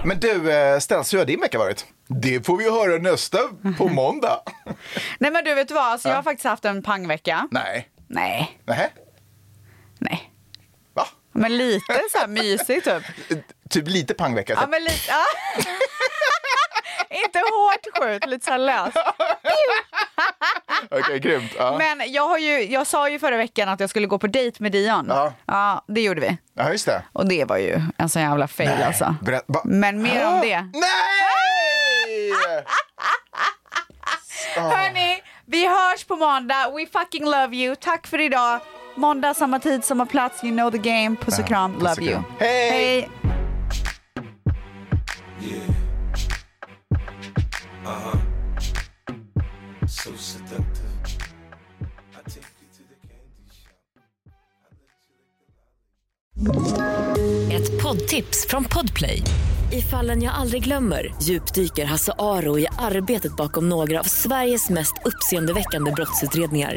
Speaker 2: Men du, eh, Stense, hur har din vecka varit? Det får vi höra nästa på måndag.
Speaker 11: Nej men du vet du vad, alltså, jag
Speaker 2: Ja.
Speaker 11: har faktiskt haft en pangvecka.
Speaker 2: Nej.
Speaker 11: Nej.
Speaker 2: Nej.
Speaker 11: Nej. Va? Men lite så här mysigt typ.
Speaker 2: Typ lite pangvecka.
Speaker 11: Ja, men lite... Ja. Inte hårt skjut, lite så här löst.
Speaker 2: Okej, grymt. Ja.
Speaker 11: Men jag, har ju, jag sa ju förra veckan att jag skulle gå på dejt med Dion. Ja. det gjorde vi.
Speaker 2: Ja, just det.
Speaker 11: Och det var ju en sån jävla fail alltså.
Speaker 2: Berätt, va?
Speaker 11: Men mer om det.
Speaker 2: Nej!
Speaker 11: Hörni, vi hörs på måndag. We fucking love you. Tack för idag. Måndag, samma tid, samma plats. You know the game. Puss och
Speaker 2: Ja,
Speaker 11: kram.
Speaker 2: puss och
Speaker 11: Love
Speaker 2: kram.
Speaker 11: you.
Speaker 2: Hej!
Speaker 11: Hej.
Speaker 12: Uh-huh. So seductive. I take you to the candy shop.
Speaker 3: Ett poddtips från Podplay. I fallen jag aldrig glömmer djupdyker Hasse Aro i arbetet bakom några av Sveriges mest uppseendeväckande brottsutredningar.